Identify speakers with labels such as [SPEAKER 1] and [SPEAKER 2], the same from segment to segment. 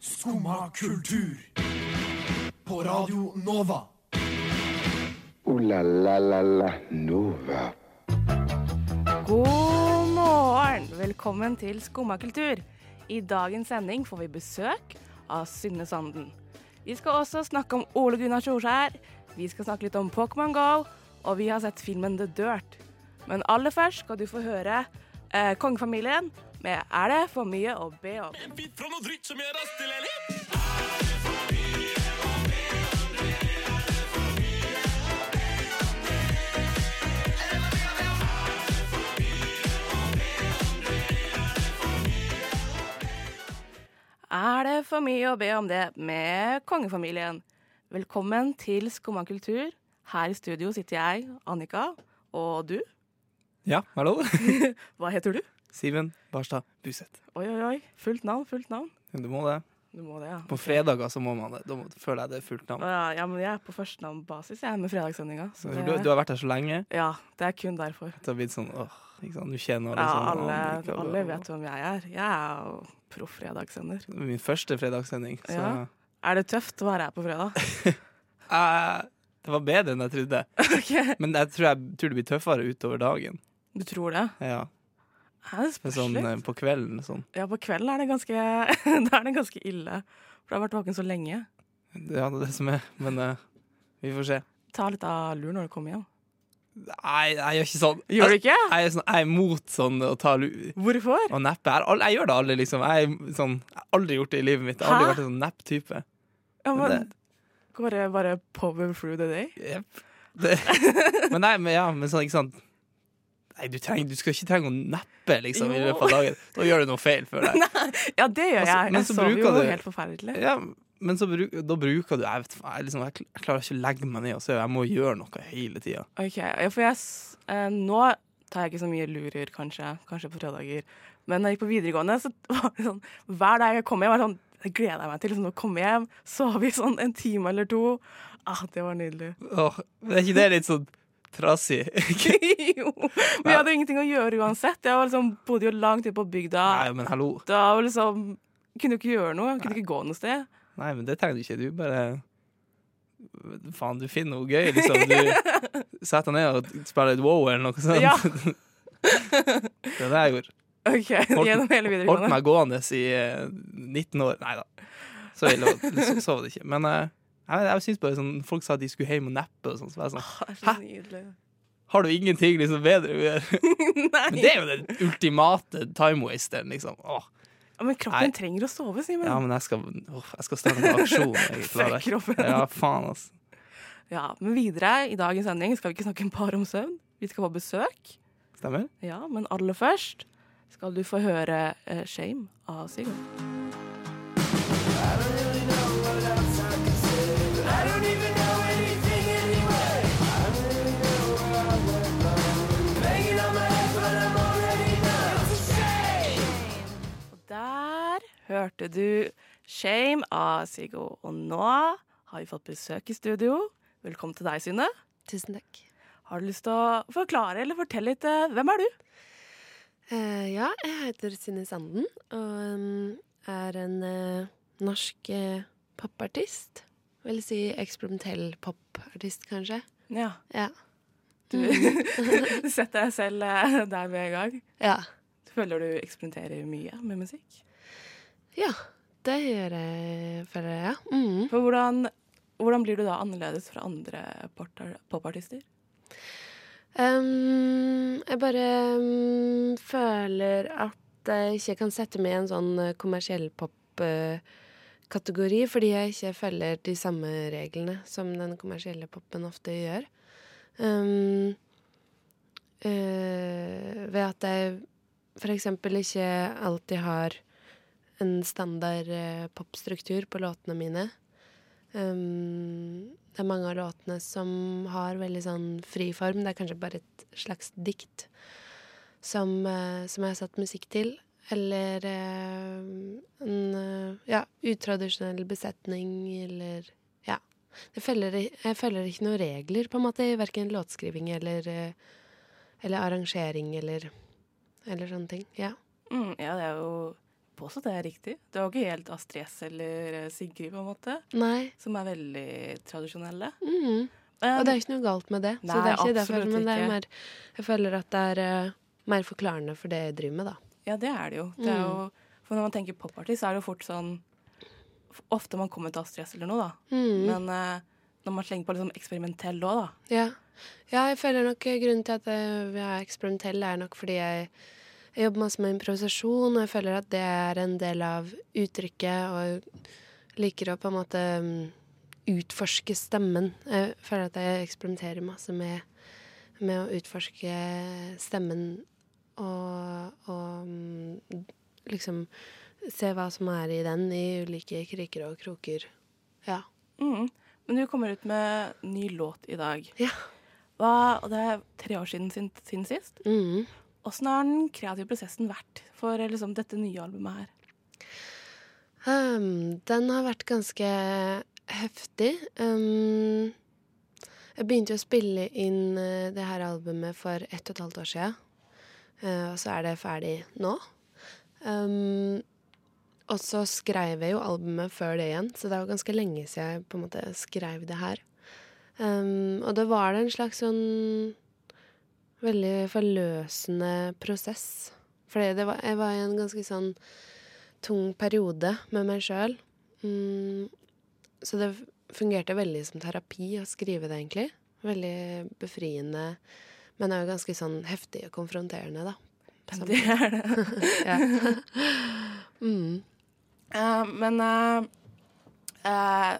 [SPEAKER 1] Skumma kultur. På Radio Nova.
[SPEAKER 2] Ooh la la la la Nova.
[SPEAKER 3] God morgen! Velkommen til Skumma kultur. I dagens sending får vi besøk av Synne Sanden. Vi skal også snakke om Ole Gunnar Solskjær, vi skal snakke litt om Pokémon GO, og vi har sett filmen The Dirt. Men aller først skal du få høre eh, kongefamilien med 'Er det for mye å be om'?
[SPEAKER 4] bit fra noe dritt som gjør oss til elite.
[SPEAKER 3] Er det for mye å be om det med kongefamilien? Velkommen til Skumma kultur. Her i studio sitter jeg, Annika, og du.
[SPEAKER 5] Ja, hallo.
[SPEAKER 3] Hva heter du?
[SPEAKER 5] Siven Barstad Buseth.
[SPEAKER 3] Oi, oi, oi. Fullt navn, fullt navn.
[SPEAKER 5] Du må det.
[SPEAKER 3] Du må det, ja.
[SPEAKER 5] På fredager så må man det. Da må- føler jeg det er fullt
[SPEAKER 3] Å
[SPEAKER 5] navn.
[SPEAKER 3] Ja, ja, men jeg er på førstenavnbasis jeg, med fredagssendinga. så
[SPEAKER 5] Så
[SPEAKER 3] det-
[SPEAKER 5] Du, du har vært her så lenge
[SPEAKER 3] Ja, det er kun derfor.
[SPEAKER 5] at det har blitt sånn åh, ikke sant, du kjenner alle
[SPEAKER 3] Ja,
[SPEAKER 5] sånn,
[SPEAKER 3] alle,
[SPEAKER 5] Annika,
[SPEAKER 3] alle
[SPEAKER 5] og-
[SPEAKER 3] vet hvem jeg er. Jeg er jo proff fredagssender.
[SPEAKER 5] Det var Min første fredagssending. Så
[SPEAKER 3] Ja. Er det tøft å være her på fredag?
[SPEAKER 5] eh, det var bedre enn jeg trodde.
[SPEAKER 3] Ok,
[SPEAKER 5] Men jeg tror, jeg tror det blir tøffere utover dagen.
[SPEAKER 3] Du tror det?
[SPEAKER 5] Ja,
[SPEAKER 3] Er det
[SPEAKER 5] for sånn
[SPEAKER 3] spørsmål?
[SPEAKER 5] eh, på kvelden sånn.
[SPEAKER 3] Ja, på kvelden er det ganske, da er det ganske ille. For jeg har vært våken så lenge.
[SPEAKER 5] Ja, det er det som er. Men eh, vi får se.
[SPEAKER 3] Ta litt av lur når du kommer hjem.
[SPEAKER 5] Nei, jeg gjør ikke sånn.
[SPEAKER 3] Gjør du ikke?
[SPEAKER 5] Jeg er, sånn, jeg er imot sånn å ta lu-
[SPEAKER 3] Hvorfor?
[SPEAKER 5] Og neppe. Jeg, har al- jeg gjør det aldri, liksom. Jeg, er sånn, jeg har aldri gjort det i livet mitt. Jeg har aldri
[SPEAKER 3] Hæ?
[SPEAKER 5] vært en sånn nepp-type.
[SPEAKER 3] Ja,
[SPEAKER 5] Men
[SPEAKER 3] men går det bare power through the day?
[SPEAKER 5] Jepp. Det- Men nei, men ja, men sånn, ikke sant. Nei, du, trenger, du skal ikke trenge å neppe, liksom, i
[SPEAKER 3] Jo.
[SPEAKER 5] løpet av dagen. Da gjør du noe feil, føler jeg.
[SPEAKER 3] Ja, det gjør
[SPEAKER 5] Altså,
[SPEAKER 3] jeg.
[SPEAKER 5] men
[SPEAKER 3] Jeg
[SPEAKER 5] så
[SPEAKER 3] sover
[SPEAKER 5] bruker
[SPEAKER 3] jo
[SPEAKER 5] du-
[SPEAKER 3] helt forferdelig.
[SPEAKER 5] Ja, men så bruk, da bruker du Jeg, vet, faen, jeg, liksom, jeg, kl- jeg klarer ikke å legge meg ned og se. Jeg må gjøre noe hele tida.
[SPEAKER 3] Ok, ja, for jeg, s- eh, nå tar jeg ikke så mye lurer, kanskje, kanskje på fredager. Men da jeg gikk på videregående, så var det sånn, hver dag jeg kom hjem, var det sånn, det gleder jeg meg til liksom, å komme hjem, sove i sånn en time eller to. Ah, det var nydelig.
[SPEAKER 5] Åh, men Er ikke det litt sånn trassig?
[SPEAKER 3] jo, men jeg hadde ingenting å gjøre uansett. Jeg var liksom, bodde jo langt ute på
[SPEAKER 5] Nei,
[SPEAKER 3] bygda.
[SPEAKER 5] men hallo.
[SPEAKER 3] Da var liksom, kunne jo ikke gjøre noe, kunne ikke gå noe sted.
[SPEAKER 5] Nei, men det trenger du ikke. Du bare Faen, du finner noe gøy, liksom. Du setter deg ned og spiller litt wow eller noe sånt.
[SPEAKER 3] Ja.
[SPEAKER 5] det er det jeg gjorde.
[SPEAKER 3] Ok, gjennom hele
[SPEAKER 5] Holdt
[SPEAKER 3] videregående.
[SPEAKER 5] meg gående i eh, 19 år. Nei da, så ille var det- så- så var det ikke. Men eh, jeg, jeg synes bare sånn, folk sa at de skulle hjem og neppe og sånn. Så var jeg sånn
[SPEAKER 3] Ah, det er så nydelig.
[SPEAKER 5] Har du ingenting liksom bedre å gjøre?
[SPEAKER 3] Nei.
[SPEAKER 5] Men det er jo den ultimate time-wasteren, liksom. Åh.
[SPEAKER 3] Ja, Men
[SPEAKER 5] Nei.
[SPEAKER 3] kroppen trenger å sove, Simen.
[SPEAKER 5] Ja, men jeg skal, åh, jeg skal starte en aksjon. Jeg klarer
[SPEAKER 3] Fuck kroppen.
[SPEAKER 5] ikke. Ja, faen, altså.
[SPEAKER 3] Ja, men videre i dagens sending skal vi ikke snakke bare om søvn. Vi skal få besøk.
[SPEAKER 5] Stemmer?
[SPEAKER 3] Ja, men aller først skal du få høre eh, 'Shame' av Sigurd. Og Der hørte du 'Shame' av Sigurd. Og nå har vi fått besøk i studio. Velkommen til deg, Synne.
[SPEAKER 6] Tusen takk.
[SPEAKER 3] Har du lyst til å forklare eller fortelle litt eh, hvem er du?
[SPEAKER 6] Eh, ja, jeg heter Synne Sanden og mm, er en eh, norsk eh, popartist. Vil si eksperimentell popartist, kanskje.
[SPEAKER 3] Ja,
[SPEAKER 6] Ja.
[SPEAKER 3] du, du setter deg selv eh, der med en gang.
[SPEAKER 6] ja.
[SPEAKER 3] Føler du eksperimenterer mye med musikk?
[SPEAKER 6] Ja, det gjør jeg, føler jeg. Ja. Mm.
[SPEAKER 3] For hvordan, hvordan blir du da annerledes fra andre portar- popartister?
[SPEAKER 6] Ehm, jeg bare mm, føler at jeg ikke kan sette meg i en sånn eh, kommersiell pop-kategori, fordi jeg ikke følger de samme reglene som den kommersielle popen ofte gjør. Ehm, eh, ved at jeg for eksempel ikke alltid har en standard eh, popstruktur på låtene mine. Um, det er mange av låtene som har veldig sånn fri form. Det er kanskje bare et slags dikt som, eh, som jeg har satt musikk til. Eller eh, en eh, ja, utradisjonell besetning, eller Ja. Jeg følger, i- jeg følger ikke noen regler, på en måte, i verken låtskriving eller, eh, eller arrangering eller, eller sånne ting. Ja.
[SPEAKER 3] Mm, ja, det er jo håper også det er riktig. Det var ikke helt Astrid S eller eh, Sigrid, på en måte,
[SPEAKER 6] Nei.
[SPEAKER 3] som er veldig tradisjonelle.
[SPEAKER 6] Mhm.
[SPEAKER 3] Um,
[SPEAKER 6] Og det er ikke noe galt med det. så
[SPEAKER 3] Nei,
[SPEAKER 6] det er ikke derfor,
[SPEAKER 3] absolutt
[SPEAKER 6] men det er
[SPEAKER 3] ikke.
[SPEAKER 6] mer, jeg føler at det er eh, mer forklarende for det jeg driver med, da.
[SPEAKER 3] Ja, det er det jo. Det er
[SPEAKER 6] Mm.
[SPEAKER 3] jo for når man tenker popartist, så er det jo fort sånn Ofte man kommer til Astrid S eller noe, da.
[SPEAKER 6] Mhm.
[SPEAKER 3] Men eh, når man slenger på liksom eksperimentell òg, da.
[SPEAKER 6] Ja. ja, jeg føler nok grunnen til at eh, jeg er eksperimentell, er nok fordi jeg, jeg jobber masse med improvisasjon, og jeg føler at det er en del av uttrykket, og jeg liker å på en måte mm, utforske stemmen. Jeg føler at jeg eksperimenterer masse med, med å utforske stemmen og, og mm, liksom se hva som er i den i ulike kriker og kroker. Ja.
[SPEAKER 3] Mhm. Men du kommer ut med ny låt i dag.
[SPEAKER 6] Ja.
[SPEAKER 3] Hva, og det er tre år siden sin, siden sist.
[SPEAKER 6] Mm.
[SPEAKER 3] Åssen har den kreative prosessen vært for eh, liksom, dette nye albumet her?
[SPEAKER 6] Um, den har vært ganske heftig. Um, jeg begynte jo å spille inn eh, det her albumet for ett og et halvt år siden. Eh, og så er det ferdig nå. Um, og så skrev jeg jo albumet før det igjen, så det er jo ganske lenge siden jeg på en måte skrev det her. Um, og da var det en slags sånn veldig forløsende prosess. Fordi det var, jeg var i en ganske sånn tung periode med meg sjøl. Mm, så det fungerte veldig som terapi å skrive det, egentlig. Veldig befriende, men òg ganske sånn heftig og konfronterende, da. på samme
[SPEAKER 3] Det er det.
[SPEAKER 6] ja. Mm.
[SPEAKER 3] Eh, men eh, eh,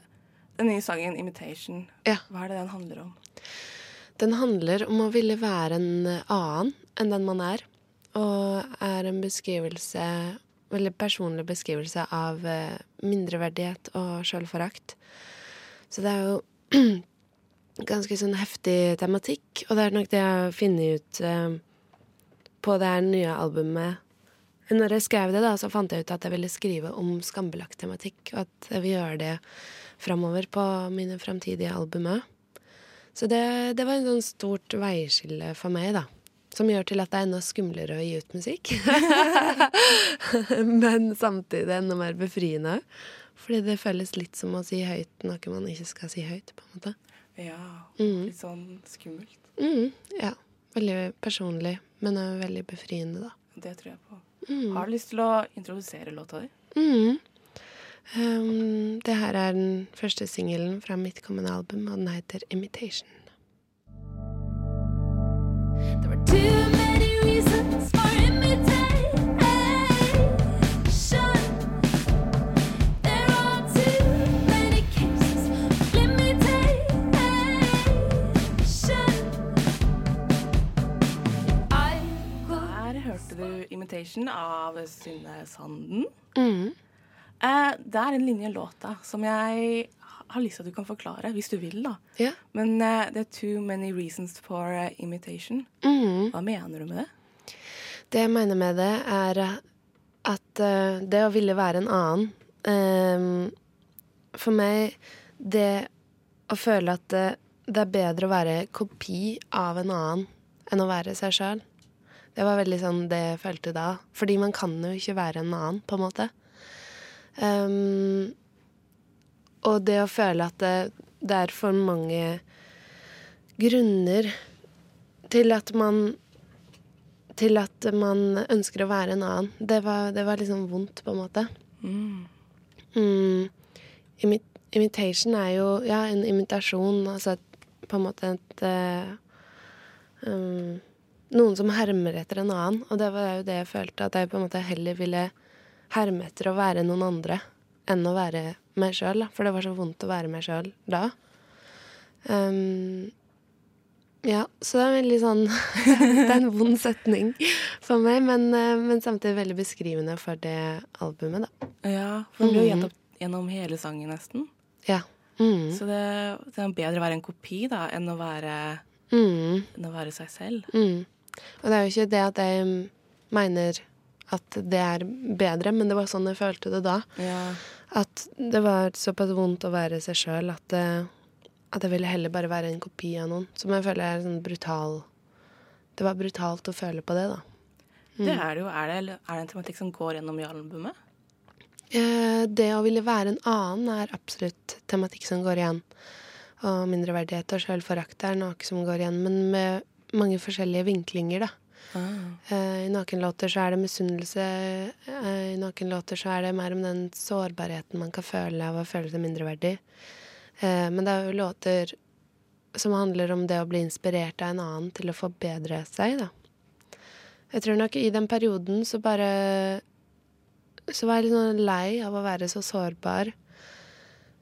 [SPEAKER 3] den nye sangen 'Imitation',
[SPEAKER 6] Ja.
[SPEAKER 3] hva er det den handler om?
[SPEAKER 6] Den handler om å ville være en eh, annen enn den man er, og er en beskrivelse, veldig personlig beskrivelse av eh, mindreverdighet og sjølforakt. Så det er jo ganske sånn heftig tematikk, og det er nok det jeg har funnet ut eh, på det her nye albumet. Når jeg skrev det, da, så fant jeg ut at jeg ville skrive om skambelagt tematikk, og at jeg vil gjøre det framover på mine framtidige albumer. Så det, det var en sånn stort veiskille for meg, da. Som gjør til at det er enda skumlere å gi ut musikk. Men samtidig enda mer befriende. Fordi det føles litt som å si høyt noe man ikke skal si høyt, på en måte.
[SPEAKER 3] Ja,
[SPEAKER 6] Mhm.
[SPEAKER 3] litt sånn skummelt.
[SPEAKER 6] Mm, ja. Veldig personlig, men også veldig befriende, da.
[SPEAKER 3] Det tror jeg på.
[SPEAKER 6] Mm.
[SPEAKER 3] Har du lyst til å introdusere låta di?
[SPEAKER 6] Mm. Um, det her er den første singelen fra mitt kommende album, og den heter 'Imitation'.
[SPEAKER 7] There were too many reasons for imitation. There are too many cases of limitation. I will
[SPEAKER 3] Her hørte du 'Imitation' av Synne Sanden.
[SPEAKER 6] Mm.
[SPEAKER 3] Eh, det er en linje i låta som jeg har lyst til at du kan forklare, hvis du vil, da.
[SPEAKER 6] Ja.
[SPEAKER 3] Men eh, det er 'Too Many Reasons for eh, Imitation'.
[SPEAKER 6] Mm.
[SPEAKER 3] Hva mener du med det?
[SPEAKER 6] Det jeg mener med det, er at eh, det å ville være en annen eh, For meg, det å føle at det, det er bedre å være kopi av en annen enn å være seg sjøl. Det var veldig sånn det jeg følte da. Fordi man kan jo ikke være en annen, på en måte. Ehm, og det å føle at det, det er for mange grunner til at man til at man ønsker å være en annen. Det var, det var liksom vondt, på en måte. Mm. Imi imitation er jo ja, en imitasjon, altså et, på en måte et eh, um, Noen som hermer etter en annen, og det var jo det jeg følte, at jeg på en måte heller ville herme etter å være noen andre enn å være meg sjøl, for det var så vondt å være meg sjøl da. Um, ja, så det er veldig sånn Det er en vond setning for meg, men, eh, men samtidig veldig beskrivende for det albumet, da.
[SPEAKER 3] Ja, for den blir jo gjentatt gjennom hele sangen, nesten.
[SPEAKER 6] Ja. Mhm. Mm.
[SPEAKER 3] Så det, det er bedre å være en kopi da, enn å være,
[SPEAKER 6] Mm.
[SPEAKER 3] enn å være seg selv.
[SPEAKER 6] Mm. Og det er jo ikke det at jeg mm, mener at det er bedre, men det var sånn jeg følte det da.
[SPEAKER 3] Ja.
[SPEAKER 6] At det var såpass vondt å være seg sjøl at, eh, at jeg ville heller bare være en kopi av noen. Som jeg føler er sånn brutal Det var brutalt å føle på det, da. Mm.
[SPEAKER 3] Det er det jo. Er det, er det en tematikk som går gjennom i albumet?
[SPEAKER 6] Eh, Det å ville være en annen er absolutt tematikk som går igjen. Og mindreverdighet og sjølforakt er noe som går igjen, men med mange forskjellige vinklinger, da. Eh, I nakenlåter så er det misunnelse. eh, I nakenlåter så er det mer om den sårbarheten man kan føle av å føle seg mindreverdig. Eh, Men det er jo låter som handler om det å bli inspirert av en annen til å forbedre seg, da. Jeg tror nok i den perioden så bare Så var jeg litt sånn lei av å være så sårbar.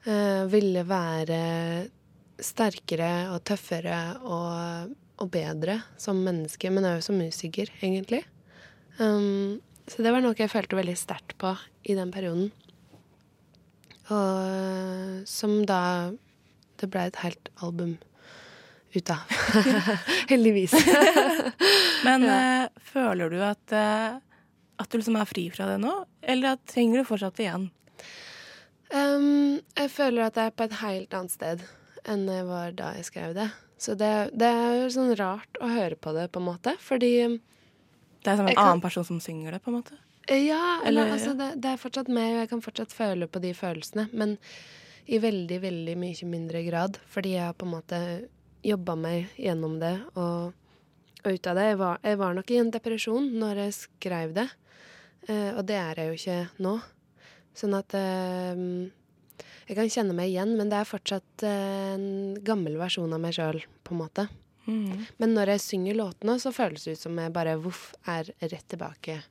[SPEAKER 6] Eh, ville være sterkere og tøffere og, og bedre som menneske, men også som musiker, egentlig. Um, så det var noe jeg følte veldig sterkt på i den perioden. Og som da Det ble et helt album ut av. Heldigvis.
[SPEAKER 3] Men eh, føler du at, eh, at du liksom er fri fra det nå, eller at trenger du fortsatt det igjen?
[SPEAKER 6] Um, jeg føler at jeg er på et helt annet sted enn jeg var da jeg skrev det. Så det, det er jo sånn rart å høre på det, på en måte. Fordi
[SPEAKER 3] Det er som en
[SPEAKER 6] Jeg kan-
[SPEAKER 3] annen person som synger det, på en måte.
[SPEAKER 6] eh, Ja,
[SPEAKER 3] Eller,
[SPEAKER 6] eller, altså, det, det er fortsatt meg, og jeg kan fortsatt føle på de følelsene. Men i veldig, veldig mye mindre grad. Fordi jeg har på en måte jobba meg gjennom det og, og ut av det. Jeg var, jeg var nok i en depresjon når jeg skrev det. Eh, og det er jeg jo ikke nå. Sånn at eh, Jeg kan kjenne meg igjen, men det er fortsatt eh, en gammel versjon av meg sjøl, på en måte.
[SPEAKER 3] Mm.
[SPEAKER 6] Men når jeg synger låtene, så føles det ut som jeg bare voff, er rett tilbake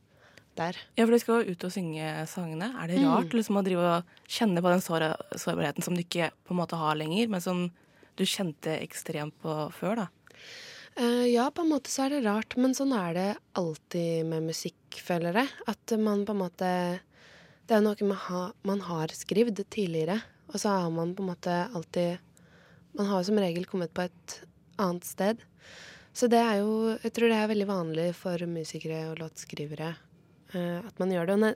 [SPEAKER 6] der.
[SPEAKER 3] Ja, for du skal jo ut og synge sangene. Er det
[SPEAKER 6] Mm.
[SPEAKER 3] rart liksom, å drive og kjenne på den såra, sårbarheten som du ikke på en måte har lenger, men som du kjente ekstremt på før, da?
[SPEAKER 6] Eh, ja, på en måte så er det rart, men sånn er det alltid med musikk, føler jeg. At man på en måte Det er noe man, ha, man har skrevet tidligere, og så har man på en måte alltid Man har jo som regel kommet på et annet sted. Så det er jo Jeg tror det er veldig vanlig for musikere og låtskrivere eh, at man gjør det. Og ne,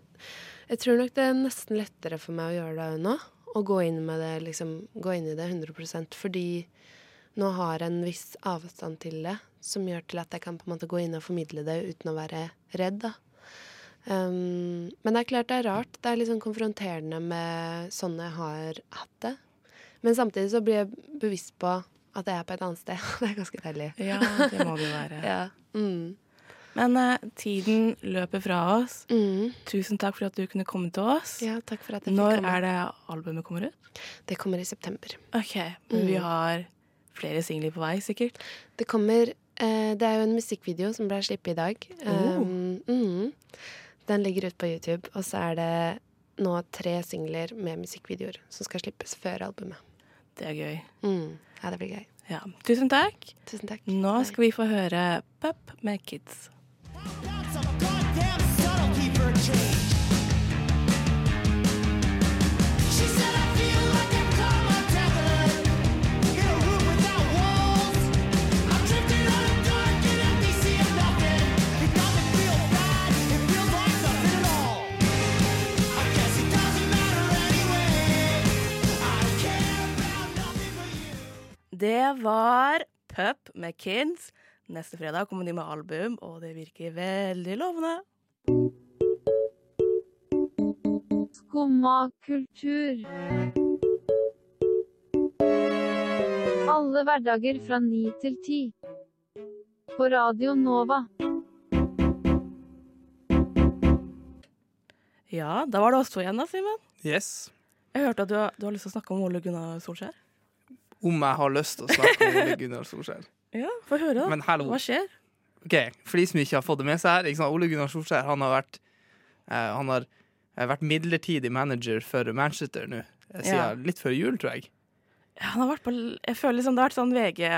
[SPEAKER 6] jeg tror nok det er nesten lettere for meg å gjøre det nå. Å gå inn med det, liksom Gå inn i det 100 fordi nå har en viss avstand til det, som gjør til at jeg kan på en måte gå inn og formidle det uten å være redd. Da. Um, men det er klart det er rart. Det er litt sånn konfronterende med sånn jeg har hatt det. Men samtidig så blir jeg bevisst på at jeg er på et annet sted. Det er ganske deilig.
[SPEAKER 3] Ja, det må det jo være.
[SPEAKER 6] Ja. Mm.
[SPEAKER 3] Men eh, tiden løper fra oss.
[SPEAKER 6] Mm.
[SPEAKER 3] Tusen takk for at du kunne komme til oss.
[SPEAKER 6] ja, takk for at jeg fikk
[SPEAKER 3] Når
[SPEAKER 6] komme.
[SPEAKER 3] er det albumet kommer ut?
[SPEAKER 6] Det kommer i september.
[SPEAKER 3] OK, men
[SPEAKER 6] Mm.
[SPEAKER 3] vi har flere singler på vei, sikkert.
[SPEAKER 6] Det kommer eh, Det er jo en musikkvideo som ble sluppet i dag.
[SPEAKER 3] Oh.
[SPEAKER 6] Um, mm. Den ligger ute på YouTube. Og så er det nå tre singler med musikkvideoer som skal slippes før albumet.
[SPEAKER 3] Det er gøy.
[SPEAKER 6] Mm. Ja, det blir gøy.
[SPEAKER 3] Ja. Tusen takk.
[SPEAKER 6] Tusen takk.
[SPEAKER 3] Nå
[SPEAKER 6] Nei.
[SPEAKER 3] skal vi få høre Pup med Kids.
[SPEAKER 8] That's a goddamn subtlety for a change.
[SPEAKER 7] She said I feel like I've come undone.
[SPEAKER 8] In a room without walls,
[SPEAKER 7] I'm drifting on a dark and empty sea of nothing.
[SPEAKER 8] it doesn't feel bad. It feels like nothing at all. I guess it doesn't matter anyway. I care about nothing but you.
[SPEAKER 3] Det var Pup med Kids. Neste fredag kommer de med album, og det virker veldig lovende.
[SPEAKER 9] Skumma kultur. Alle hverdager fra ni til ti. På Radio Nova.
[SPEAKER 3] Ja, da var det oss to igjen, da, Simen.
[SPEAKER 5] Yes.
[SPEAKER 3] Jeg hørte at du har, du har lyst til å snakke om Ole Gunnar Solskjær.
[SPEAKER 5] Om jeg har lyst til å snakke om Ole Gunnar Solskjær.
[SPEAKER 3] Ja, Få høre, da.
[SPEAKER 5] Men hallo.
[SPEAKER 3] Hva skjer?
[SPEAKER 5] Ok, For de som ikke har fått det med seg her, ikke sant? Ole Gunnar Solskjær han har vært eh, Han har eh, vært midlertidig manager for Manchester nå, eh, siden
[SPEAKER 3] Ja.
[SPEAKER 5] litt før jul, tror jeg.
[SPEAKER 3] Ja, han har vært på l- Jeg føler liksom det har vært sånn VG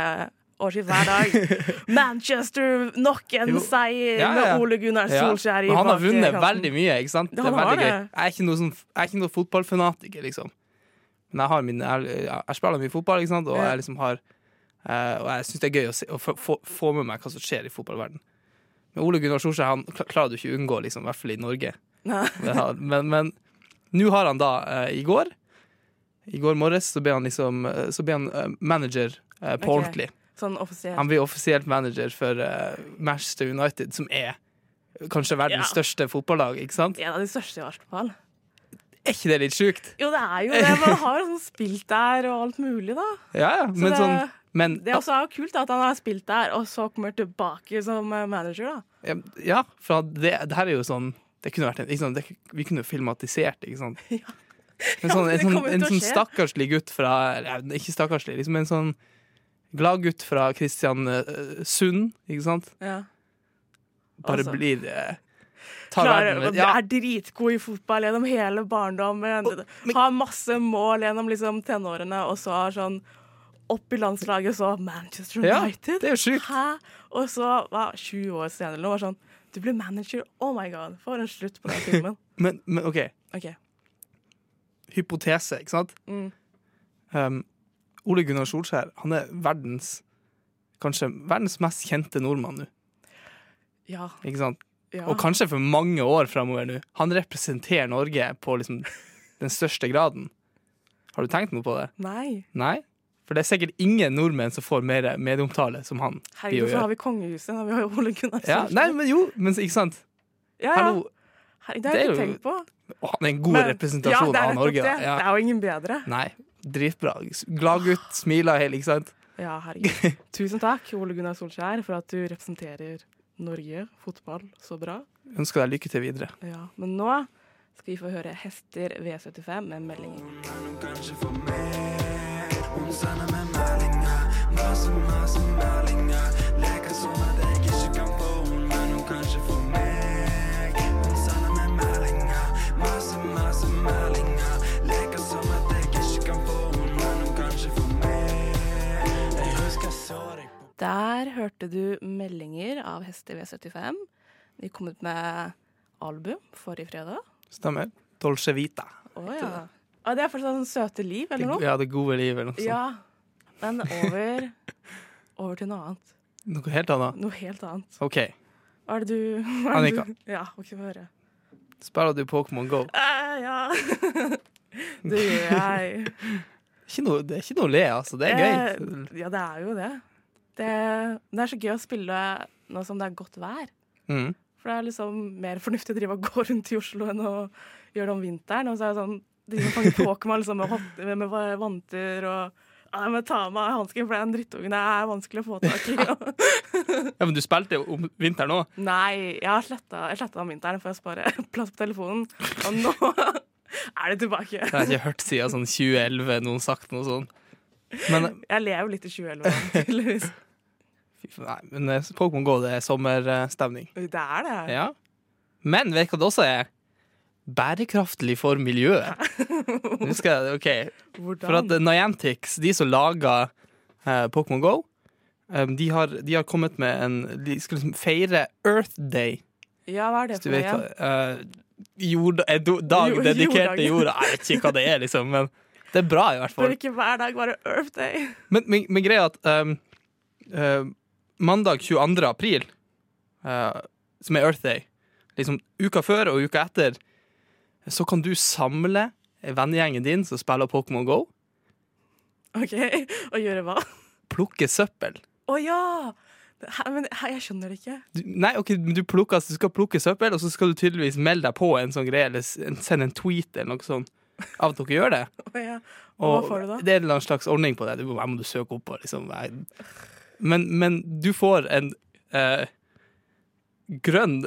[SPEAKER 3] Årskift hver dag. Manchester, nok en
[SPEAKER 5] Jo.
[SPEAKER 3] seier
[SPEAKER 5] Ja, ja, ja.
[SPEAKER 3] med Ole Gunnar
[SPEAKER 5] Ja.
[SPEAKER 3] Solskjær i
[SPEAKER 5] Men han har vunnet
[SPEAKER 3] bakerkanten.
[SPEAKER 5] veldig mye, ikke sant?
[SPEAKER 3] Ja,
[SPEAKER 5] Det er
[SPEAKER 3] han har
[SPEAKER 5] veldig gøy.
[SPEAKER 3] det.
[SPEAKER 5] Jeg er ikke noe, sånn, jeg er ikke noe fotballfanatiker, liksom. Men jeg, har min, jeg, jeg spiller mye fotball, ikke sant? og
[SPEAKER 3] Ja.
[SPEAKER 5] jeg liksom har eh, Og jeg syns det er gøy å, se, å få- få, få med meg hva som skjer i fotballverden Men Ole Gunnar Solskjær han kla- klarer du ikke å unngå, liksom, i hvert fall i Norge.
[SPEAKER 3] Nei.
[SPEAKER 5] Men han- Men men nå har han da, eh, i går I går morges så ble han liksom eh, Så ble han eh, manager eh, på
[SPEAKER 3] Ok.
[SPEAKER 5] ordentlig.
[SPEAKER 3] Sånn offisielt.
[SPEAKER 5] Han blir offisielt manager for eh, Manchester United, som er kanskje verdens
[SPEAKER 3] Ja.
[SPEAKER 5] største fotballag. ikke sant?
[SPEAKER 3] En av de største, i hvert fall.
[SPEAKER 5] Er ikke det litt sjukt?
[SPEAKER 3] Jo, det er jo det. Man har jo sånn spilt der og alt mulig, da.
[SPEAKER 5] Ja, ja. Men
[SPEAKER 3] det-
[SPEAKER 5] sånn men,
[SPEAKER 3] Det er også er jo kult da, at han har spilt der, og så kommer tilbake som eh, manager, da.
[SPEAKER 5] Ja, Ja, for det, det her er jo sånn det kunne vært en, ikke sant, det, Vi kunne jo filmatisert ikke sant? Men sånn,
[SPEAKER 3] Ja,
[SPEAKER 5] en
[SPEAKER 3] det
[SPEAKER 5] sånn,
[SPEAKER 3] kommer jo
[SPEAKER 5] en
[SPEAKER 3] til å
[SPEAKER 5] sånn
[SPEAKER 3] skje.
[SPEAKER 5] stakkarslig gutt fra ja, Ikke stakkarslig, liksom en sånn glad gutt fra Kristiansund, ikke sant?
[SPEAKER 3] Ja.
[SPEAKER 5] Bare
[SPEAKER 3] Altså.
[SPEAKER 5] blir eh, Tar verden
[SPEAKER 3] Klarer,
[SPEAKER 5] med ja,
[SPEAKER 3] Er dritgod i fotball gjennom hele barndommen.
[SPEAKER 5] men-
[SPEAKER 3] har masse mål gjennom liksom, tenårene, og så har sånn opp i landslaget, så Manchester
[SPEAKER 5] ja,
[SPEAKER 3] United.
[SPEAKER 5] det er jo sjukt.
[SPEAKER 3] Hæ? Og så, hva, sju år senere eller noe, var sånn Du ble manager. Oh my god. For en slutt på den filmen.
[SPEAKER 5] Men, men OK,
[SPEAKER 3] OK.
[SPEAKER 5] hypotese, ikke sant?
[SPEAKER 3] Mm.
[SPEAKER 5] Um, Ole Gunnar Solskjær, han er verdens Kanskje verdens mest kjente nordmann nå,
[SPEAKER 3] Ja.
[SPEAKER 5] ikke sant?
[SPEAKER 3] ja.
[SPEAKER 5] Og kanskje for mange år framover nå. Han representerer Norge på liksom den største graden. Har du tenkt noe på det?
[SPEAKER 3] Nei.
[SPEAKER 5] Nei? For det er sikkert ingen nordmenn som får mer medieomtale som han. blir å
[SPEAKER 3] Herregud, så
[SPEAKER 5] gjøre.
[SPEAKER 3] har vi kongehuset. Da. Vi har jo Ole Gunnar
[SPEAKER 5] ja,
[SPEAKER 3] Solskjær.
[SPEAKER 5] nei, men jo, men ikke sant?
[SPEAKER 3] ja, ja.
[SPEAKER 5] Hallo.
[SPEAKER 3] Herregud, det har jeg
[SPEAKER 5] det er
[SPEAKER 3] ikke
[SPEAKER 5] jo
[SPEAKER 3] tenkt på.
[SPEAKER 5] Å, Han er en god
[SPEAKER 3] Men-
[SPEAKER 5] representasjon
[SPEAKER 3] ja, det er
[SPEAKER 5] av
[SPEAKER 3] nettopp
[SPEAKER 5] Norge.
[SPEAKER 3] Det.
[SPEAKER 5] da. Ja.
[SPEAKER 3] det er jo ingen bedre.
[SPEAKER 5] Nei, dritbra. Gladgutt, smiler helt, ikke sant?
[SPEAKER 3] Ja, herregud. Tusen takk, Ole Gunnar Solskjær, for at du representerer Norge fotball så bra.
[SPEAKER 5] Ønsker deg lykke til videre.
[SPEAKER 3] Ja, Men nå skal vi få høre Hester V75 med meldinger. Der hørte du meldinger av Hester V75. Vi kom ut med album forrige fredag.
[SPEAKER 5] Stemmer. Dolce vita.
[SPEAKER 3] Å ja. Ah, det er fortsatt sånn Søte liv,
[SPEAKER 5] Det,
[SPEAKER 3] eller noe?
[SPEAKER 5] ja, det gode livet eller noe sånt.
[SPEAKER 3] Ja. Men over, over til noe annet.
[SPEAKER 5] Noe helt annet.
[SPEAKER 3] Noe helt annet.
[SPEAKER 5] OK.
[SPEAKER 3] Hva er det du hva er det
[SPEAKER 5] Annika.
[SPEAKER 3] du- Ja, OK, få høre.
[SPEAKER 5] Spiller du Pokémon Go?
[SPEAKER 3] Eh, ja. Det gjør jeg.
[SPEAKER 5] Ikke noe, det er ikke noe å le, altså. Det er gøy.
[SPEAKER 3] Eh, Ja, det er jo det. det. Det er så gøy å spille nå som det er godt vær.
[SPEAKER 5] Mm.
[SPEAKER 3] For det er liksom mer fornuftig å drive og gå rundt i Oslo enn å gjøre det om vinteren. Og så er det sånn de som fanger Pokémon liksom, med, hot- med vanter og ja, Jeg må ta av meg hansken, for den drittungen er vanskelig å få tak i.
[SPEAKER 5] Ja, Men du spilte jo om vinteren òg.
[SPEAKER 3] Nei, jeg har sletta jeg sletta den om vinteren for å spare plass på telefonen. Og nå er det tilbake.
[SPEAKER 5] Jeg har ikke hørt siden sånn 2011 noen sagt noe sånt. Men,
[SPEAKER 3] Jeg lever litt i 2011, tydeligvis.
[SPEAKER 5] fy faen, nei, men eh, Pokémon Go det er sommerstemning.
[SPEAKER 3] Det er det.
[SPEAKER 5] Ja. Men vet du hva det også er? Bærekraftig for miljøet. Nå skal jeg, ok,
[SPEAKER 3] Hvordan?
[SPEAKER 5] For at eh, Niantics, de som lager eh, Pokémon Go, eh, de, har, de har kommet med en De skal liksom feire Earth Day.
[SPEAKER 3] Ja, hva er det
[SPEAKER 5] Hvis du
[SPEAKER 3] for noe
[SPEAKER 5] vet hva
[SPEAKER 3] igjen?
[SPEAKER 5] eh, jord, eh, do- Dag
[SPEAKER 3] Jo-
[SPEAKER 5] dedikert
[SPEAKER 3] jorddag.
[SPEAKER 5] til jorda. Jeg vet ikke hva det er, liksom, men det er bra, i hvert
[SPEAKER 3] Bør
[SPEAKER 5] fall.
[SPEAKER 3] ikke hver dag være Earth Day?
[SPEAKER 5] Men, men, men greia er at um, uh, mandag 22. april, uh, som er Earth Day, liksom uka før og uka etter, så kan du samle vennegjengen din som spiller Pokémon GO,
[SPEAKER 3] OK, og gjøre hva?
[SPEAKER 5] plukke søppel.
[SPEAKER 3] Å ja! Hæ, men hæ, jeg skjønner det ikke.
[SPEAKER 5] Du, nei, ok, men du, plukker, du skal plukke søppel, og så skal du tydeligvis melde deg på en sånn greie, eller s- en- sende en tweet eller noe sånt av at dere gjør det.
[SPEAKER 3] Å ja.
[SPEAKER 5] Og
[SPEAKER 3] Hva får du da?
[SPEAKER 5] Det er en eller annen slags ordning på det. Du, må- her må du søke opp på, liksom. Nei. Men, men du får en eh, grønn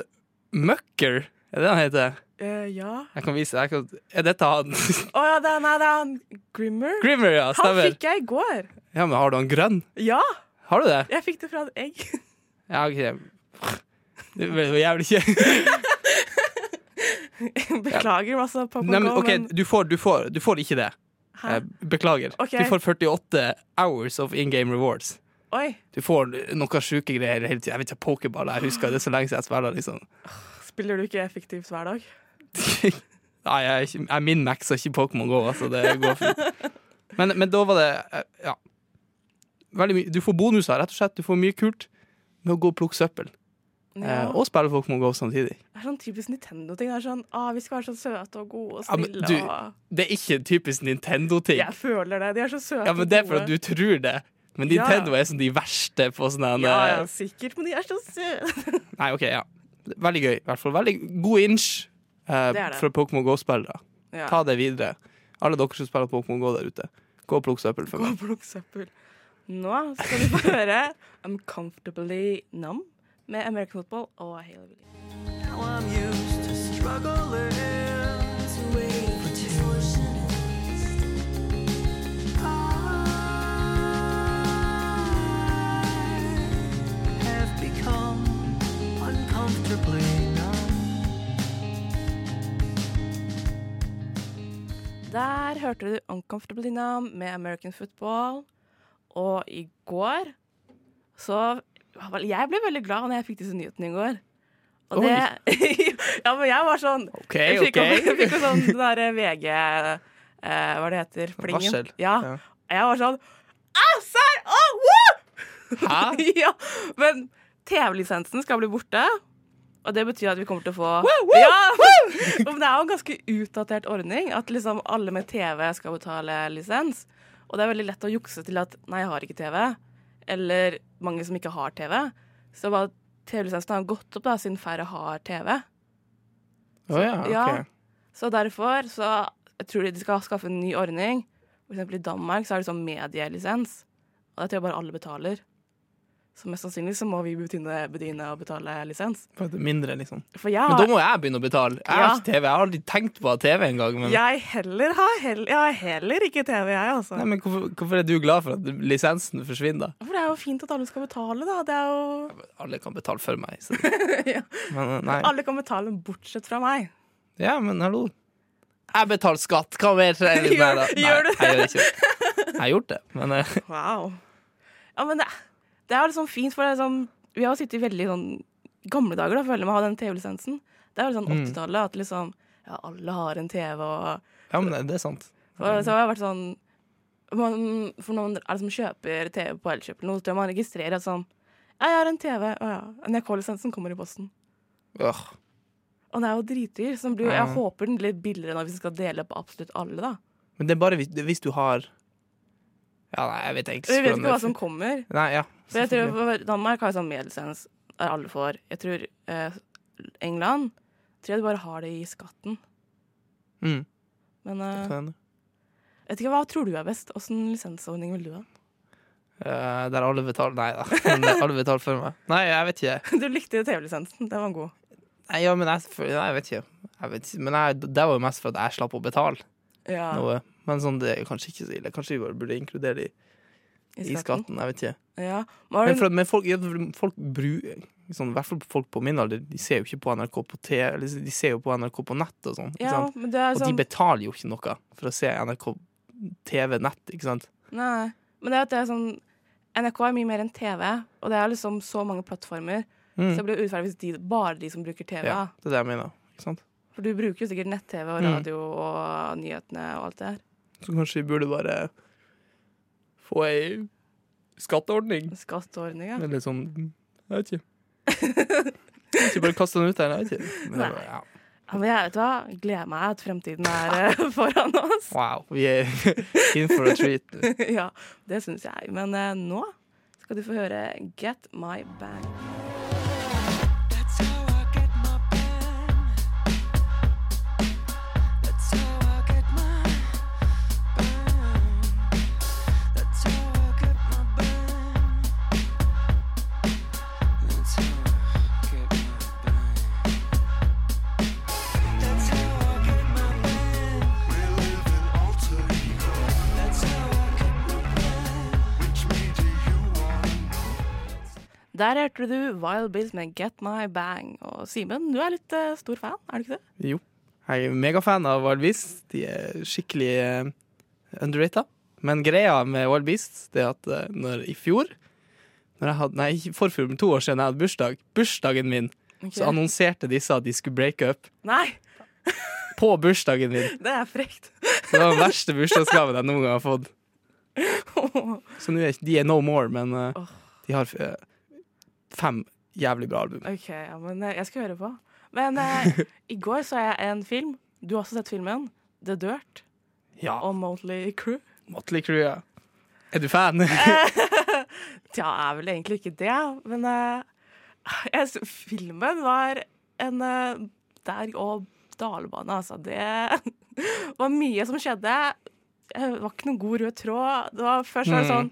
[SPEAKER 5] møkker. Er det det han heter?
[SPEAKER 3] Eh, ja.
[SPEAKER 5] Jeg kan vise deg. jeg kan- Er dette han?
[SPEAKER 3] Å ja, det er, nei, det er han Grimmer.
[SPEAKER 5] Grimmer, ja.
[SPEAKER 3] han
[SPEAKER 5] Stemmer.
[SPEAKER 3] fikk jeg i går.
[SPEAKER 5] Ja, men har du han grønn?
[SPEAKER 3] Ja,
[SPEAKER 5] Har du det?
[SPEAKER 3] jeg fikk det fra et egg.
[SPEAKER 5] Ja, ok. Det ble jo jævlig ikke.
[SPEAKER 3] Beklager masse på
[SPEAKER 5] Nei, men OK,
[SPEAKER 3] men
[SPEAKER 5] du får, du får, du får ikke det.
[SPEAKER 3] hæ?
[SPEAKER 5] Eh, Beklager.
[SPEAKER 3] Ok.
[SPEAKER 5] Du får 48 hours of in game rewards.
[SPEAKER 3] Oi,
[SPEAKER 5] Du får noen sjuke greier hele tida. Jeg vet ikke, pokerball, jeg husker det er så lenge siden jeg spiller, liksom.
[SPEAKER 3] spiller du ikke effektivt hver dag?
[SPEAKER 5] Nei, jeg, er ikke- jeg min Max er ikke Pokémon Go, altså. Det går fint. Men, men da var det eh, Ja. Veldig mye. Du får bonuser, rett og slett. Du får mye kult med å gå og plukke søppel.
[SPEAKER 3] Ja.
[SPEAKER 5] Eh, og spille Pokémon Go samtidig.
[SPEAKER 3] Det er sånn typisk Nintendo-ting. Det er sånn, ah, Vi skal være så søte og gode og
[SPEAKER 5] Ja, men
[SPEAKER 3] snille.
[SPEAKER 5] du-
[SPEAKER 3] og...
[SPEAKER 5] Det er ikke en typisk Nintendo-ting.
[SPEAKER 3] Jeg føler det. De er så søte
[SPEAKER 5] Ja, men Det er for
[SPEAKER 3] og
[SPEAKER 5] at
[SPEAKER 3] gode.
[SPEAKER 5] du tror det. Men
[SPEAKER 3] Ja.
[SPEAKER 5] Nintendo er som de verste på sånn
[SPEAKER 3] Ja, ja, sikkert, men de er så søte.
[SPEAKER 5] Nei, OK, ja. Veldig gøy, i hvert fall. Veldig god inch eh,
[SPEAKER 3] Det er det.
[SPEAKER 5] fra Pokémon Go-spillere.
[SPEAKER 3] Ja.
[SPEAKER 5] Ta det videre. Alle dere som spiller Pokémon Go der ute, gå og plukk søppel for
[SPEAKER 3] Gå
[SPEAKER 5] meg.
[SPEAKER 3] og plukk søppel. Nå skal du få høre I'm Comfortably Numb med American Football og Hayley Williams. Der hørte du Uncomfortably Numb med American Football. Og i går så vel, Jeg ble veldig glad når jeg fikk disse nyhetene i går. Og
[SPEAKER 5] Oi.
[SPEAKER 3] det Ja, men jeg var sånn
[SPEAKER 5] OK,
[SPEAKER 3] Jeg fikk
[SPEAKER 5] OK.
[SPEAKER 3] jo- jeg fikk jo sånn den derre VG eh, Hva det heter? Plingen.
[SPEAKER 5] Varsel.
[SPEAKER 3] Ja.
[SPEAKER 5] Ja.
[SPEAKER 3] Jeg var sånn «Ah, serr? Åh, woo!»
[SPEAKER 5] Hæ?
[SPEAKER 3] ja, men TV-lisensen skal bli borte. Og det betyr at vi kommer til å få Ja, Men det er jo en ganske utdatert ordning at liksom alle med TV skal betale lisens. Og det er veldig lett å jukse til at 'nei, jeg har ikke TV', eller mange som ikke har TV. Så bare TV-lisensen har gått opp da, siden færre har TV.
[SPEAKER 5] Å ja,
[SPEAKER 3] Ja.
[SPEAKER 5] ok.
[SPEAKER 3] Så derfor så jeg tror de skal skaffe en ny ordning. For eksempel i Danmark så er det sånn medielisens. Og det tror jeg bare alle betaler. Så mest sannsynlig så må vi begynne, begynne å betale lisens.
[SPEAKER 5] For at det er mindre, liksom.
[SPEAKER 3] For jeg
[SPEAKER 5] Men da
[SPEAKER 3] har,
[SPEAKER 5] må jeg begynne å betale. Jeg har
[SPEAKER 3] Ja.
[SPEAKER 5] ikke TV. Jeg har aldri tenkt på å ha TV engang. Men,
[SPEAKER 3] jeg heller har heller, jeg har heller ikke TV, jeg, altså.
[SPEAKER 5] nei, men hvorfor, hvorfor er du glad for at lisensen forsvinner?
[SPEAKER 3] For det er jo fint at alle skal betale, da. Det er jo
[SPEAKER 5] Alle kan betale for meg. Så.
[SPEAKER 3] Ja.
[SPEAKER 5] Men, eh, nei.
[SPEAKER 3] Alle kan betale bortsett fra meg.
[SPEAKER 5] Ja, men hallo. Jeg betaler skatt. Hva mer trenger jeg?
[SPEAKER 3] Gjør-
[SPEAKER 5] Nei, da.
[SPEAKER 3] gjør du
[SPEAKER 5] Nei, jeg gjør ikke det. Jeg har gjort det, men eh,
[SPEAKER 3] Wow. Ja, men det, det er jo liksom fint, for det er sånn Vi har jo sittet i veldig sånn gamle dager, da, føler jeg, med å ha den TV-lisensen. Det er jo sånn
[SPEAKER 5] Mm.
[SPEAKER 3] 80-tallet at liksom Ja, alle har en TV, og,
[SPEAKER 5] ja, men eh, det- det er sant.
[SPEAKER 3] og så har jeg vært sånn man, For når man er det som kjøper TV på Elkjøp eller noe, så tror jeg man registrerer at sånn Ja, jeg har en TV. Å ja. NRK-lisensen kommer i posten.
[SPEAKER 5] Åh.
[SPEAKER 3] Og den er jo dritdyr. Så den blir, jo- jeg
[SPEAKER 5] Ja.
[SPEAKER 3] håper den blir billigere nå hvis den skal dele på absolutt alle, da.
[SPEAKER 5] Men det er bare hvis, hvis du har Ja, nei, jeg vet egentlig
[SPEAKER 3] Vi vet
[SPEAKER 5] hvordan
[SPEAKER 3] ikke
[SPEAKER 5] det-
[SPEAKER 3] hva som kommer.
[SPEAKER 5] Nei, ja.
[SPEAKER 3] For jeg tror for Danmark har jo sånn medelsens der alle får. Jeg tror eh, England tror jeg de bare har det i skatten.
[SPEAKER 5] Mm.
[SPEAKER 3] Men eh,
[SPEAKER 5] Kan hende.
[SPEAKER 3] jeg vet ikke, hva tror du er best? Åssen lisensordning vil du ha?
[SPEAKER 5] Eh, Der alle betaler Nei da. Men der alle betaler for meg. Nei, jeg vet ikke.
[SPEAKER 3] Du likte TV-lisensen. Den var god.
[SPEAKER 5] Nei, ja, men jeg, for, nei, jeg vet ikke. Jeg vet ikke. Men jeg, det var jo mest for at jeg slapp å betale
[SPEAKER 3] Ja,
[SPEAKER 5] noe. Men sånn, det er kanskje ikke så ille. Kanskje vi bare burde inkludere det i, i skatten. Jeg vet ikke.
[SPEAKER 3] Ja. Var
[SPEAKER 5] Men,
[SPEAKER 3] det,
[SPEAKER 5] for, men folk, ja, for folk bruker sånn, I hvert fall folk på min alder, de ser jo ikke på NRK på TV, eller de ser jo på NRK på nett og sånn. ikke
[SPEAKER 3] ja,
[SPEAKER 5] sant?
[SPEAKER 3] men det er
[SPEAKER 5] Og de
[SPEAKER 3] sånn
[SPEAKER 5] betaler jo ikke noe for å se NRK TV nett, ikke sant?
[SPEAKER 3] Nei. Men det er at det er sånn NRK er mye mer enn TV, og det er liksom så mange plattformer. Så det blir jo urettferdig hvis de, bare de som bruker TV.
[SPEAKER 5] Mm. Ja,
[SPEAKER 3] da.
[SPEAKER 5] det er det jeg mener. Ikke sant?
[SPEAKER 3] For du bruker jo sikkert nett-TV og
[SPEAKER 5] Mm.
[SPEAKER 3] radio og nyhetene og alt det her.
[SPEAKER 5] Så kanskje vi burde bare få ei skatteordning.
[SPEAKER 3] Skatteordninga.
[SPEAKER 5] Eller sånn Jeg vet ikke. Jeg vet ikke bare kaste den ut der. Jeg vet ikke. Men det var, ja.
[SPEAKER 3] Ja, men jeg vet du hva, gleder meg at fremtiden er eh, foran oss.
[SPEAKER 5] Wow. Vi er in for a treat.
[SPEAKER 3] ja, det syns jeg. Men eh, nå skal du få høre Get My Bag. Der hørte du Wild Bills med Get My Bang. Og Simen, du er litt eh, stor fan, er du ikke det?
[SPEAKER 5] Jo. Jeg er megafan av Wild Beasts. De er skikkelig uh, underrated. Men greia med Wild Beasts det er at eh, når, i fjor når jeg hadde, Nei, i forfjor, men to år siden jeg hadde bursdag, bursdagen min, så annonserte disse at de skulle breake up
[SPEAKER 3] Nei,
[SPEAKER 5] på bursdagen min.
[SPEAKER 3] det er frekt.
[SPEAKER 5] Så det var den verste bursdagsgaven jeg noen gang har fått.
[SPEAKER 3] OK,
[SPEAKER 5] Så nå er ikke- de er no more, men eh,
[SPEAKER 3] Åh.
[SPEAKER 5] de har eh, fem jævlig bra album.
[SPEAKER 3] ja, men eh, jeg skal høre på. Men eh, i går så jeg en film. Du har også sett filmen. The Dirt
[SPEAKER 5] Ja,
[SPEAKER 3] og Motley Crew.
[SPEAKER 5] Motley Crue, ja. Er du fan?
[SPEAKER 3] Tja, er vel egentlig ikke det, men eh, jeg, s- filmen var en eh, berg- og dalbane, altså. Det Det var mye som skjedde. Eh, Det var ikke noen god rød tråd. Det var først
[SPEAKER 5] Mm.
[SPEAKER 3] var det sånn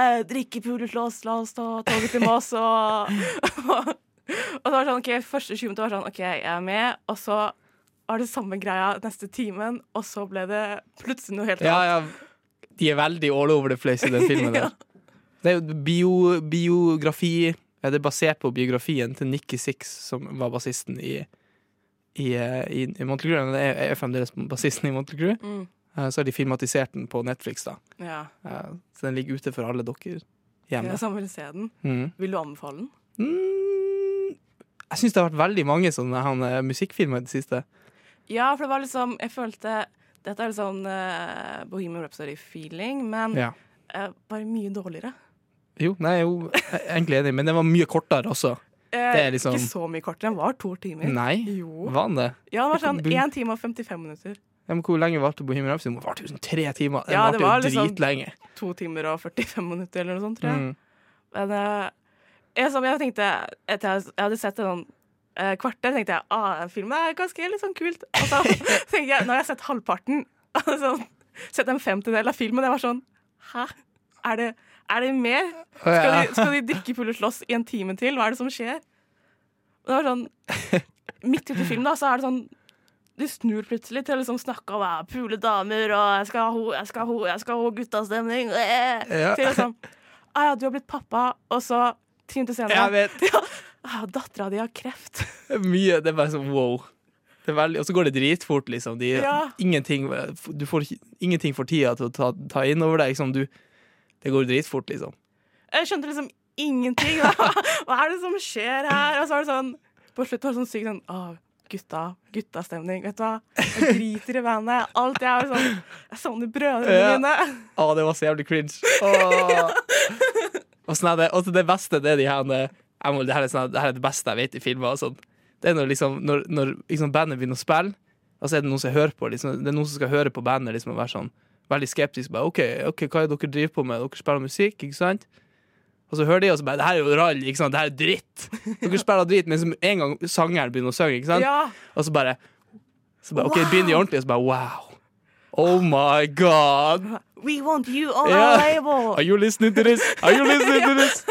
[SPEAKER 3] eh, Drikkepulet, la oss, la oss ta toget til Moss, og, og, det var sånn, ok, Første 20 minutter var sånn OK, jeg er med. Og så var det samme greia neste timen, og så ble det plutselig noe helt
[SPEAKER 5] Ja,
[SPEAKER 3] annet.
[SPEAKER 5] ja. De er veldig all over the place i den filmen der. Det er jo bio, biografi ja, Det er basert på biografien til Nikki Six, som var bassisten i, i, eh, i, i Motley Crue. Det er, er fremdeles bassisten i Motley Crue.
[SPEAKER 3] Mm.
[SPEAKER 5] Eh, Så har de filmatisert den på Netflix, da.
[SPEAKER 3] Ja.
[SPEAKER 5] Eh, Så den ligger ute for alle dere hjemme.
[SPEAKER 3] Ja, så han vil se den.
[SPEAKER 5] Mm.
[SPEAKER 3] Vil du anbefale den?
[SPEAKER 5] Mm. Jeg syns det har vært veldig mange sånne han, eh, musikkfilmer i det siste.
[SPEAKER 3] Ja, for det var liksom Jeg følte Dette er litt sånn eh, Bohemian Rhapsody-feeling, men
[SPEAKER 5] Ja.
[SPEAKER 3] eh, bare mye dårligere.
[SPEAKER 5] Jo, nei, jo, jeg er egentlig enig, men den var mye kortere også.
[SPEAKER 3] Eh,
[SPEAKER 5] Det er liksom-
[SPEAKER 3] Ikke så mye kortere. Den var to timer.
[SPEAKER 5] Nei,
[SPEAKER 3] Eh, Jo.
[SPEAKER 5] var den det?
[SPEAKER 3] Ja, det var sånn
[SPEAKER 5] Hvor-
[SPEAKER 3] 1 time og 55 minutter.
[SPEAKER 5] Ja, men hvor lenge varte Bohemian Rhapsody? Den varte jo sånn tre timer. Den
[SPEAKER 3] Ja, det
[SPEAKER 5] varte jo
[SPEAKER 3] var liksom-
[SPEAKER 5] dritlenge.
[SPEAKER 3] 2 timer og 45 minutter eller noe sånt, tror jeg.
[SPEAKER 5] Mm.
[SPEAKER 3] Men eh, jeg, som jeg tenkte etter jeg, jeg hadde sett en sånn eh, kvarter, tenkte jeg ah, den filmen er ganske litt sånn kult. Og så tenkte jeg, når jeg har sett halvparten, og så sett en femtedel av filmen, jeg var sånn Hæ? Er det, er det mer? Skal de, skal de drikke full og slåss i en time til? Hva er det som skjer? Og det var sånn Midt ute i filmen, da, så er det sånn de snur plutselig til å liksom snakke om «Jeg pule damer og jeg skal ha ho, jeg skal ha ho, jeg skal ha ho guttastemning. eh,
[SPEAKER 5] Ja.
[SPEAKER 3] Til liksom ah, ja, du har blitt pappa, og så ti minutter
[SPEAKER 5] Jeg
[SPEAKER 3] senere
[SPEAKER 5] vet
[SPEAKER 3] ja, ah, Dattera di har kreft.
[SPEAKER 5] mye. Det er bare sånn wow. Det er veldig, og så går det dritfort, liksom. De,
[SPEAKER 3] Ja.
[SPEAKER 5] ingenting, du får ikke- ingenting for tida til å ta, ta inn over deg. Liksom. Du, det går dritfort, liksom.
[SPEAKER 3] Jeg skjønte liksom ingenting. Da. Hva er det som skjer her? Og så var det sånn På slutt var det sånn sykt sånn ah, Gutta, guttastemning. Vet du hva? Jeg driter i bandet. Alt jeg er sånn Jeg savner brødrene
[SPEAKER 5] Ja.
[SPEAKER 3] mine.
[SPEAKER 5] Å, det var så jævlig cringe. Åh. Og sånn er det, og så det beste det er de her eh, jeg må, det, her er sånn, det her er det beste jeg vet i filmer. Og sånn. Det er når, liksom, når, når liksom bandet begynner å spille, og så er det noen som hører på. Liksom, det er noen som skal høre på bandet liksom, og være sånn veldig skeptisk. Bare, OK, ok, hva er det dere driver på med? Dere spiller musikk, ikke sant? Og så hører de, og så bare Det her er jo rall, ikke sant? Det her er dritt! Dere spiller dritt, men som en gang sangeren begynner å synge, ikke sant?
[SPEAKER 3] Ja.
[SPEAKER 5] Og så bare, så bare OK, begynner de ordentlig, og så bare wow! Oh my god!
[SPEAKER 3] We want you on
[SPEAKER 5] Ja.
[SPEAKER 3] our label.
[SPEAKER 5] Are you listening to this? Are you listening to this?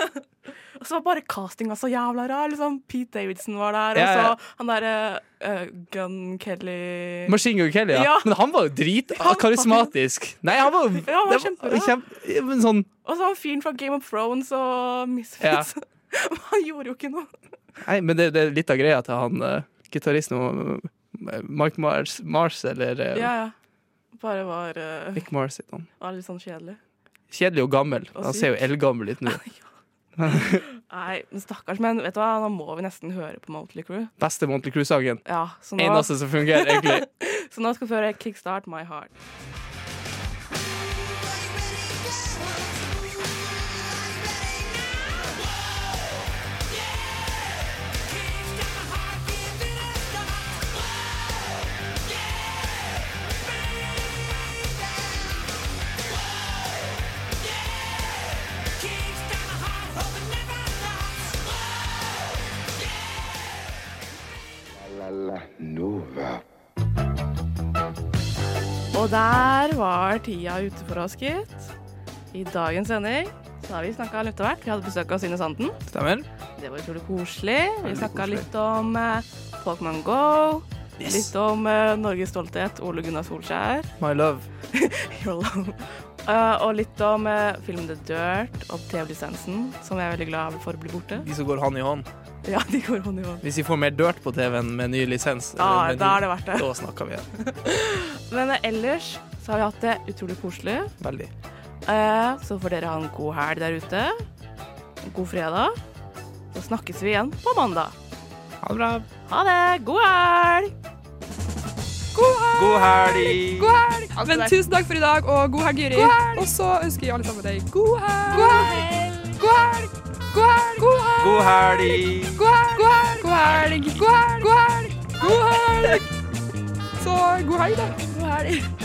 [SPEAKER 3] Og så var bare castinga så jævla rar. Liksom. Pete Davidson var der,
[SPEAKER 5] Ja, ja.
[SPEAKER 3] og så han derre Gun Kelly
[SPEAKER 5] Machine Gun Kelly, ja.
[SPEAKER 3] Ja.
[SPEAKER 5] Men han var jo drit
[SPEAKER 3] Han var-
[SPEAKER 5] karismatisk. Nei, han var jo
[SPEAKER 3] Ja, han var
[SPEAKER 5] det
[SPEAKER 3] kjempebra.
[SPEAKER 5] kjempe- men sånn
[SPEAKER 3] Og så han fyren fra Game of Thrones og Misfits. Men han gjorde jo ikke noe.
[SPEAKER 5] Nei, men det, det er litt av greia til han uh, gitaristen og eh, Mike Mars, Mars eller eh,
[SPEAKER 3] Ja, ja. Bare var, eh,
[SPEAKER 5] Mick Mars. heter han.
[SPEAKER 3] var litt sånn kjedelig.
[SPEAKER 5] Kjedelig og gammel.
[SPEAKER 3] Og
[SPEAKER 5] han ser jo eldgammel ut nå.
[SPEAKER 3] Nei, men stakkars. Men vet du hva, nå må vi nesten høre på Motley Crew.
[SPEAKER 5] Beste Monty Cruise-sangen.
[SPEAKER 3] Ja, så nå,
[SPEAKER 5] Eneste som fungerer, egentlig.
[SPEAKER 3] så nå skal vi høre Kickstart My Heart.
[SPEAKER 2] La la Nova.
[SPEAKER 3] Og der var tida ute for oss, gitt. I dagens sending så har vi snakka litt av hvert. Vi hadde besøk av Synne Sanden.
[SPEAKER 5] Stemmer?
[SPEAKER 3] Det var utrolig koselig. Vi
[SPEAKER 5] Veldig
[SPEAKER 3] snakka
[SPEAKER 5] koselig.
[SPEAKER 3] litt om eh, Pokémon Go.
[SPEAKER 5] Yes.
[SPEAKER 3] Litt om eh, Norges stolthet, Ole Gunnar Solskjær.
[SPEAKER 5] My love.
[SPEAKER 3] Your love. Eh, og litt om eh, filmen The Dirt og TV-lisensen, som jeg er veldig glad for blir borte.
[SPEAKER 5] De som går hånd i hånd.
[SPEAKER 3] Ja, de går hånd i hånd.
[SPEAKER 5] Hvis vi får mer dirt på TV-en med ny lisens,
[SPEAKER 3] Ja, Ah,
[SPEAKER 5] eller med
[SPEAKER 3] da
[SPEAKER 5] ny-
[SPEAKER 3] er det verdt det.
[SPEAKER 5] da snakker vi igjen.
[SPEAKER 3] Men eh, ellers så har vi hatt det utrolig koselig.
[SPEAKER 5] Veldig.
[SPEAKER 3] Eh, så får dere ha en god helg der ute. God fredag. Så snakkes vi igjen på mandag.
[SPEAKER 5] Ha det bra.
[SPEAKER 3] Ha det! God helg!
[SPEAKER 5] God helg!
[SPEAKER 10] God helg!
[SPEAKER 3] Alt
[SPEAKER 10] Men
[SPEAKER 3] det der.
[SPEAKER 10] tusen takk for i dag, og god helg, Juri. Og så ønsker vi alle sammen deg god helg! God helg! God helg! God helg! God helg!
[SPEAKER 5] God helg!
[SPEAKER 10] God helg! God helg! God helg! God helg! God helg! Så god helg, da. God helg.